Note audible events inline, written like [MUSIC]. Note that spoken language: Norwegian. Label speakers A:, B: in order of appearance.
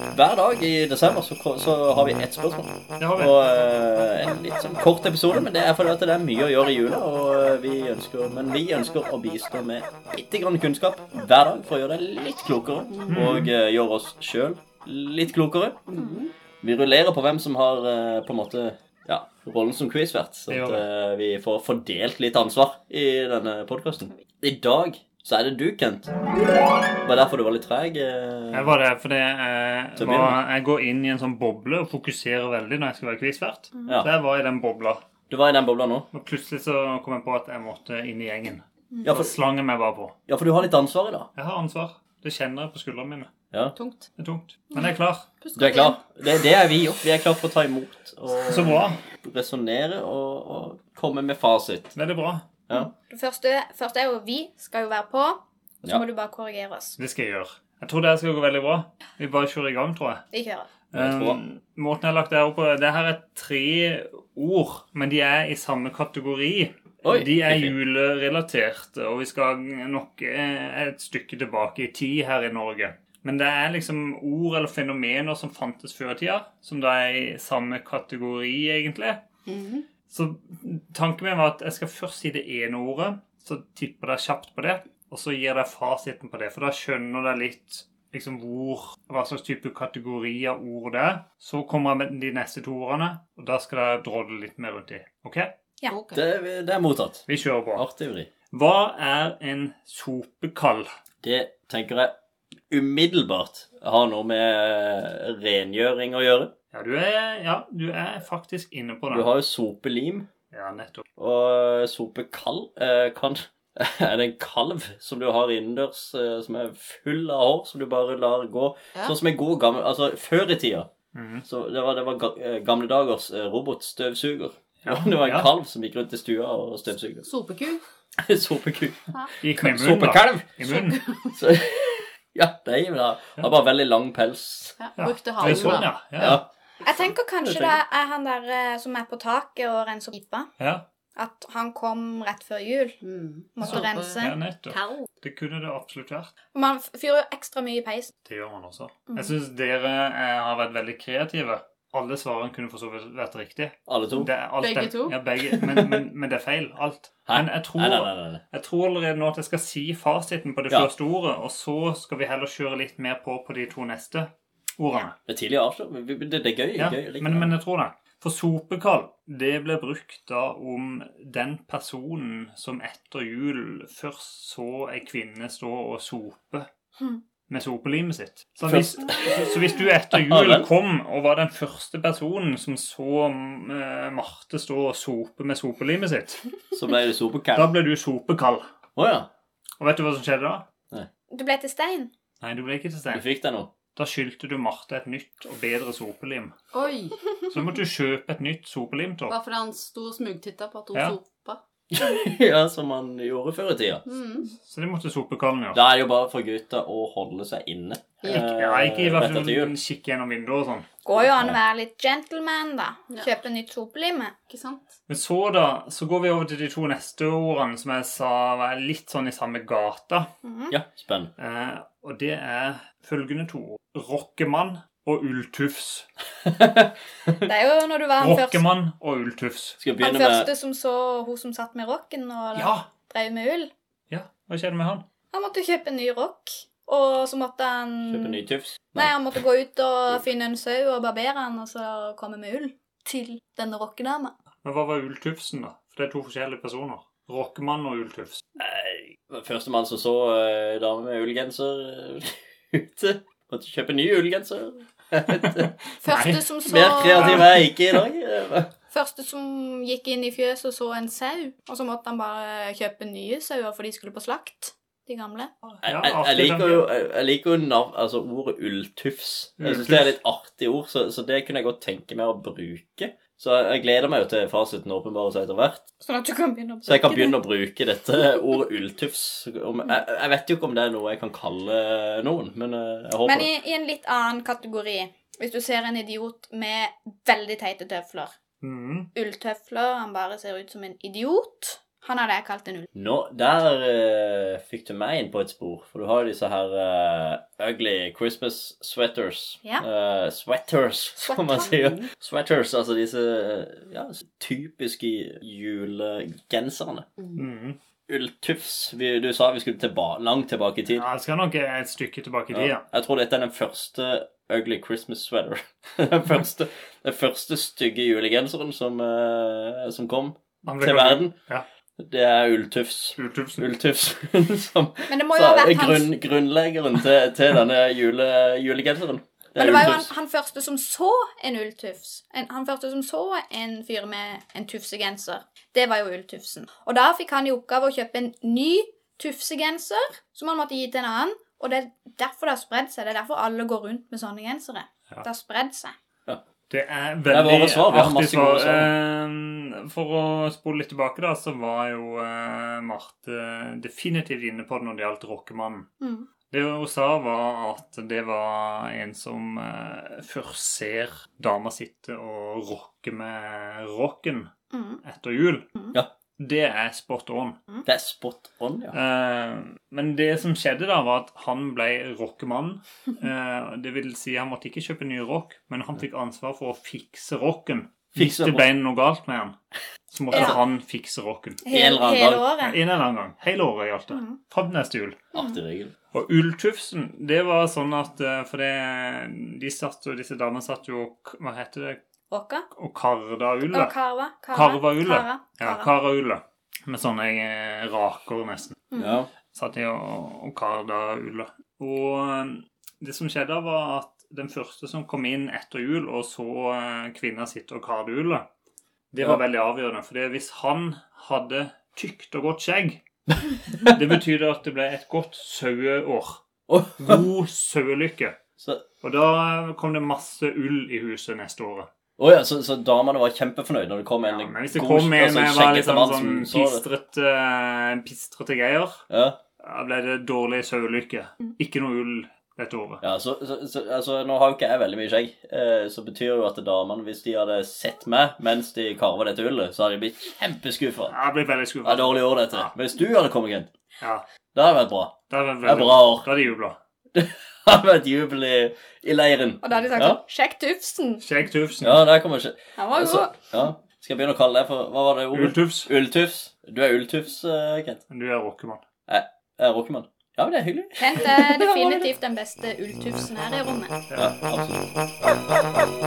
A: Hver dag i desember så, ko- så har vi ett spørsmål.
B: Det har vi.
A: Og eh, en litt sånn kort episode, men det er fordi at det er mye å gjøre i jula. Og eh, vi ønsker, men vi ønsker å bistå med bitte grann kunnskap hver dag for å gjøre det litt klokere. Og eh, gjøre oss sjøl litt klokere. Vi rullerer på hvem som har eh, på en måte ja, rollen som quizvert. Så
B: Det
A: at
B: gjør
A: eh, vi får fordelt litt ansvar i denne podkasten. I dag så er det du, Kent. Det var derfor du var litt treg. eh.
B: Jeg var det fordi jeg,
A: Så
B: var,
A: begynner.
B: jeg går inn i en sånn boble og fokuserer veldig når jeg skal være quizvert.
A: Ja.
B: Så jeg var i den bobla.
A: Du var i den bobla nå.
B: Og plutselig så kom jeg på at jeg måtte inn i gjengen.
A: Ja,
B: Så
A: for,
B: slang jeg meg bare på.
A: ja, for du har litt ansvar i dag.
B: Jeg har ansvar. Det kjenner jeg på skuldrene mine.
A: Ja.
C: Tungt.
B: Det er tungt. Men jeg er klar.
C: Pust
A: Du er
C: godt
A: klar? Det, det er vi òg. Vi er klar for å ta imot
B: Så
A: og
B: bra.
A: resonnere og, og komme med fasit.
B: Veldig bra.
A: Ja.
C: igjen. Det første, første er jo vi skal jo være på, og så
A: Ja.
C: må du bare korrigere oss.
B: Det skal jeg gjøre. Jeg tror det her skal gå veldig bra. Vi bare kjører i gang, tror jeg.
C: Vi kjører.
A: Jeg tror.
B: Um, Måten jeg har lagt det her opp på Det her er tre ord, men de er i samme kategori.
A: Oi,
B: de er
A: ok.
B: julerelaterte, og vi skal nok eh, et stykke tilbake i tid her i Norge. Men det er liksom ord eller fenomener som fantes før i tida, som da er i samme kategori, egentlig. Så tanken min var at jeg skal først si det ene ordet, så tipper dere kjapt på det, og så gir dere fasiten på det, for da skjønner dere litt liksom hvor, hva slags type kategori av ord det er. Så kommer jeg med de neste to ordene, og da skal dere drodle litt mer rundt i. Ok?
C: Ja.
A: Det, det er mottatt.
B: Vi kjører på.
A: Artig vri.
B: Hva er en sopekall?
A: Det tenker jeg umiddelbart har noe med rengjøring å gjøre.
B: Ja, du er, ja, du er faktisk inne på
A: Du
B: det.
A: har jo sopelim
B: Ja, nettopp.
A: og sopekall. eh, Kan [LAUGHS] er det en kalv som du har innendørs, eh, som er full av hår, som du bare lar gå?
C: Ja.
A: Sånn som en god gammel Altså før i tida.
B: Mhm.
A: Så det var, det var ga- eh, gamle dagers eh, robotstøvsuger.
B: Ja,
A: [LAUGHS] det var en
B: ja.
A: kalv som gikk rundt i stua og støvsugde. [LAUGHS]
C: Sopeku.
A: Sopeku.
B: Gikk med i munnen, da.
A: Sopekalv!
B: I munnen.
A: Så, [LAUGHS] ja, det gir meg det. Har bare veldig lang pels.
D: Ja,
B: Ja.
D: brukte
B: Det er sånn,
D: halen. da.
B: ja.
A: Ja.
B: Ja.
C: Jeg tenker
A: Det
C: kanskje det
A: tenker
C: er han der eh, som er på taket og renser pipa.
B: ja.
C: At han kom rett før jul.
D: Mm.
C: Måtte
D: Sope-
C: rense.
B: ja nettopp.
D: Kall.
B: Det kunne det absolutt vært.
C: Og Man f- fyrer jo ekstra mye i peisen.
B: Det gjør man også.
C: Mm.
B: Jeg syns dere eh, har vært veldig kreative. Alle svarene kunne for så vidt vært riktig.
A: Alle to.
B: Det er alt
D: Begge
B: det-
D: to?
B: Ja, begge, men, men, men det er feil. Alt.
A: [LAUGHS] Hæ?
B: Men jeg tror,
A: Nei, nei, nei. nei.
B: jeg tror allerede nå at jeg skal si fasiten på det
A: Ja.
B: første ordet, og så skal vi heller kjøre litt mer på på de to neste ordene.
A: Det er tidlig å avsløre. men vi- Det, det er gøy.
B: Ja,
A: gøy likevel.
B: men, men jeg tror det. For sopekall, det ble brukt da om den personen som etter jul først så ei kvinne stå og sope
C: Hmm.
B: med sopelimet sitt. Så hvis,
A: Først-
B: så hvis du
A: [LAUGHS]
B: etter
A: Ja
B: jul
A: vel.
B: kom og var den første personen som så eh, Marte stå og sope med sopelimet sitt,
A: Så ble det
B: da
A: sopekall.
B: ble du sopekall.
A: Å ja.
B: Og vet du hva som skjedde da?
C: Du ble til stein.
B: Nei, du ble ikke til
A: Du
B: stein.
A: fikk deg noe.
B: Da skyldte du Marte et nytt og bedre sopelim.
D: Oi!
B: Så måtte du kjøpe et nytt sopelim til henne.
D: Bare fordi han sto og smugtitta på at hun
B: Ja.
D: sopa.
A: [LAUGHS] ja, som man gjorde før i tida.
D: Mm.
B: Så det måtte sopekallen gjøre.
A: Da er det jo bare for gutta å holde seg inne.
D: Ikke-
B: Ja, ikke i hvert
A: Eh, etter jul.
B: fall kikke gjennom vinduet og sånn.
C: Går jo an å være litt gentleman, da.
D: Ja.
C: Kjøpe nytt sopelime.
D: Ikke sant?
B: Men så, da, så går vi over til de to neste ordene som jeg sa er litt sånn i samme gata.
A: Ja, spennende.
B: Eh, og det er følgende to ord. Rockemann og ulltufs.
C: Det er jo når du var han første,
B: Rockemann og ulltufs.
A: Skal vi
C: han
A: begynne med
C: første som så hun som satt med rocken og
B: Ja!
C: drev med ull.
B: ja. Hva skjedde med han?
C: Han måtte jo kjøpe en ny rock, og så måtte han
A: kjøpe ny tufs?
C: Nei, han måtte gå ut og finne en sau og barbere han, og så komme med ull til denne rockedama.
B: Men hva var ulltufsen, da? For det er to forskjellige personer. Rockemann og ulltufs.
A: Førstemann som så uh, dame med ullgenser [LAUGHS] eh, ute, måtte kjøpe ny ullgenser.
C: Første
B: Nei,
C: som så
A: Mer kreativ er jeg ikke i
C: [LAUGHS]
A: dag.
C: Første som gikk inn i fjøset og så en sau, og så måtte han bare kjøpe nye sauer, for de skulle på slakt, de gamle.
A: Jeg,
B: Ja,
A: jeg, jeg
B: artig,
A: liker
B: den-
A: jo, jeg, jeg liker jo nav, altså ordet ulltufs. Jeg syns
B: Ulltufs.
A: det er litt artig ord, så, så det kunne jeg godt tenke meg å bruke. Så jeg, jeg gleder meg jo til fasiten åpenbarer seg etter hvert.
C: Sånn at du kan begynne å bruke
A: Så jeg kan begynne å bruke dette ordet ulltufs. Om, jeg, jeg vet jo ikke om det er noe jeg kan kalle noen, men eh, jeg håper
C: Men i, i en litt annen kategori. Hvis du ser en idiot med veldig teite tøfler.
B: Mhm.
C: Ulltøfler, han bare ser ut som en idiot. Han hadde jeg kalt en ulv.
A: Nå, Der eh, fikk du meg inn på et spor, for du har jo disse her eh, ugly Christmas sweaters.
C: Ja.
A: Eh, sweaters, [LAUGHS] som man sier. Sweaters, altså disse eh, ja, typiske julegenserne.
B: Mhm.
A: Ulltufs. Vi, du sa vi skulle tilba langt tilbake i tid.
B: Ja, det skal nok et stykke tilbake i tid, ja.
A: Ja. Jeg tror dette er den første ugly Christmas sweater. [LAUGHS] den, første, den første stygge julegenseren som, eh, som kom
B: Han ble
A: til
B: kalt
A: verden.
B: Ja.
A: Det er Ulltufs.
B: Ultufsen.
A: Ulltufs [LAUGHS] som
C: Men det må jo
A: så,
C: ha
A: er
C: vært hans
A: grunn, grunnleggeren til, til denne jule, julegenseren. Det
C: Men
A: er
C: det var jo han,
A: Ulltufs.
C: han første som så en ulltufs. En, han første som så en fyr med en tufsegenser. Det var jo ulltufsen. Og da fikk han i oppgave å kjøpe en ny tufsegenser, som han måtte gi til en annen. Og det er derfor det har spredd seg. Det er derfor alle går rundt med sånne gensere.
B: Ja.
C: Det har spredd seg.
B: Det er
A: er
B: veldig
A: våre svar. Vi har
B: artig
A: masse gode
B: svar. Eh, For å spole litt tilbake, da, så var jo eh, Marte definitivt inne på det når det gjaldt rockemannen.
C: Mm.
B: Det hun sa, var at det var en som eh, først ser dama sitte og rocke med rocken
C: Mm.
B: etter jul.
A: Ja.
B: Det er spot on.
A: Det er spot on, ja.
B: Eh, men det som skjedde da, var at han ble rockemann. Eh, det vil si, han måtte ikke kjøpe ny rock, men han fikk ansvar for å fikse rocken. Hvis
A: Fikse
B: det ble noe galt med han, så måtte
C: Ja.
B: han fikse rocken.
A: eller
C: Hele,
A: annen
C: hele
A: dag.
B: En
C: året.
B: eller annen gang. Hele året gjaldt det.
C: Mm.
B: Fram til neste jul.
A: Artig regel.
B: Og Ulltufsen, det var sånn at eh, For det, de satt jo, disse damene satt jo og k- Hva heter det?
C: Åka.
B: Og karda ulla.
C: Og karva.
B: Karva ulla.
C: Kara.
B: Ja,
C: Kara.
B: kara ulla. Med sånne eh, raker, nesten.
C: Mm.
A: Ja.
B: satt jeg og, og karda ulla. Og eh, det som skjedde, var at den første som kom inn etter jul og så eh, kvinna sitte og karde ulla, det var
A: Ja.
B: veldig avgjørende. For hvis han hadde tykt og godt skjegg Det betydde at det ble et godt saueår.
A: Åh,
B: God sauelykke.
A: så,
B: Og da kom det masse ull i huset neste året.
A: Å ja, så, så damene var kjempefornøyd når det kom
B: Ja,
A: en
B: men hvis det
A: god-
B: kom en
A: altså,
B: med var
A: skjeggete
B: litt sånn,
A: mann
B: sånn
A: som så det.
B: pistrete, pistrete greier,
A: Ja.
B: da ble det dårlig sauelykke. Ikke noe ull dette året.
A: Ja, så, så, så altså, Nå har jo ikke jeg veldig mye skjegg, eh, så betyr jo at damene, hvis de hadde sett meg mens de karva dette hullet, så hadde de blitt kjempeskuffa.
B: Jeg ble veldig
A: Det er
B: skuffa.
A: dårlig år, dette. Men hvis du hadde kommet inn,
B: Ja,
A: det hadde vært bra.
B: det var
A: Det er
B: veldig
A: bra år. [LAUGHS] Det
B: Da er det jubla.
A: hadde vært jubel i, i leiren.
C: Og da hadde de sagt
A: ja.
C: sånn Sjekk tufsen!
B: Skjegg Tufsen.
A: Ja, der kommer ikke
C: Han var
A: altså,
C: god.
A: ja. Skal jeg begynne å kalle deg for Hva var det ordet?
B: Ulltufs.
A: Ulltufs. Du er ulltufs, eh, Kent.
B: Men Du er rockemann.
A: Jeg er rockemann. Ja, men det er hyggelig.
C: Kent er eh, definitivt den beste ulltufsen her i rommet.
A: Ja, absolutt.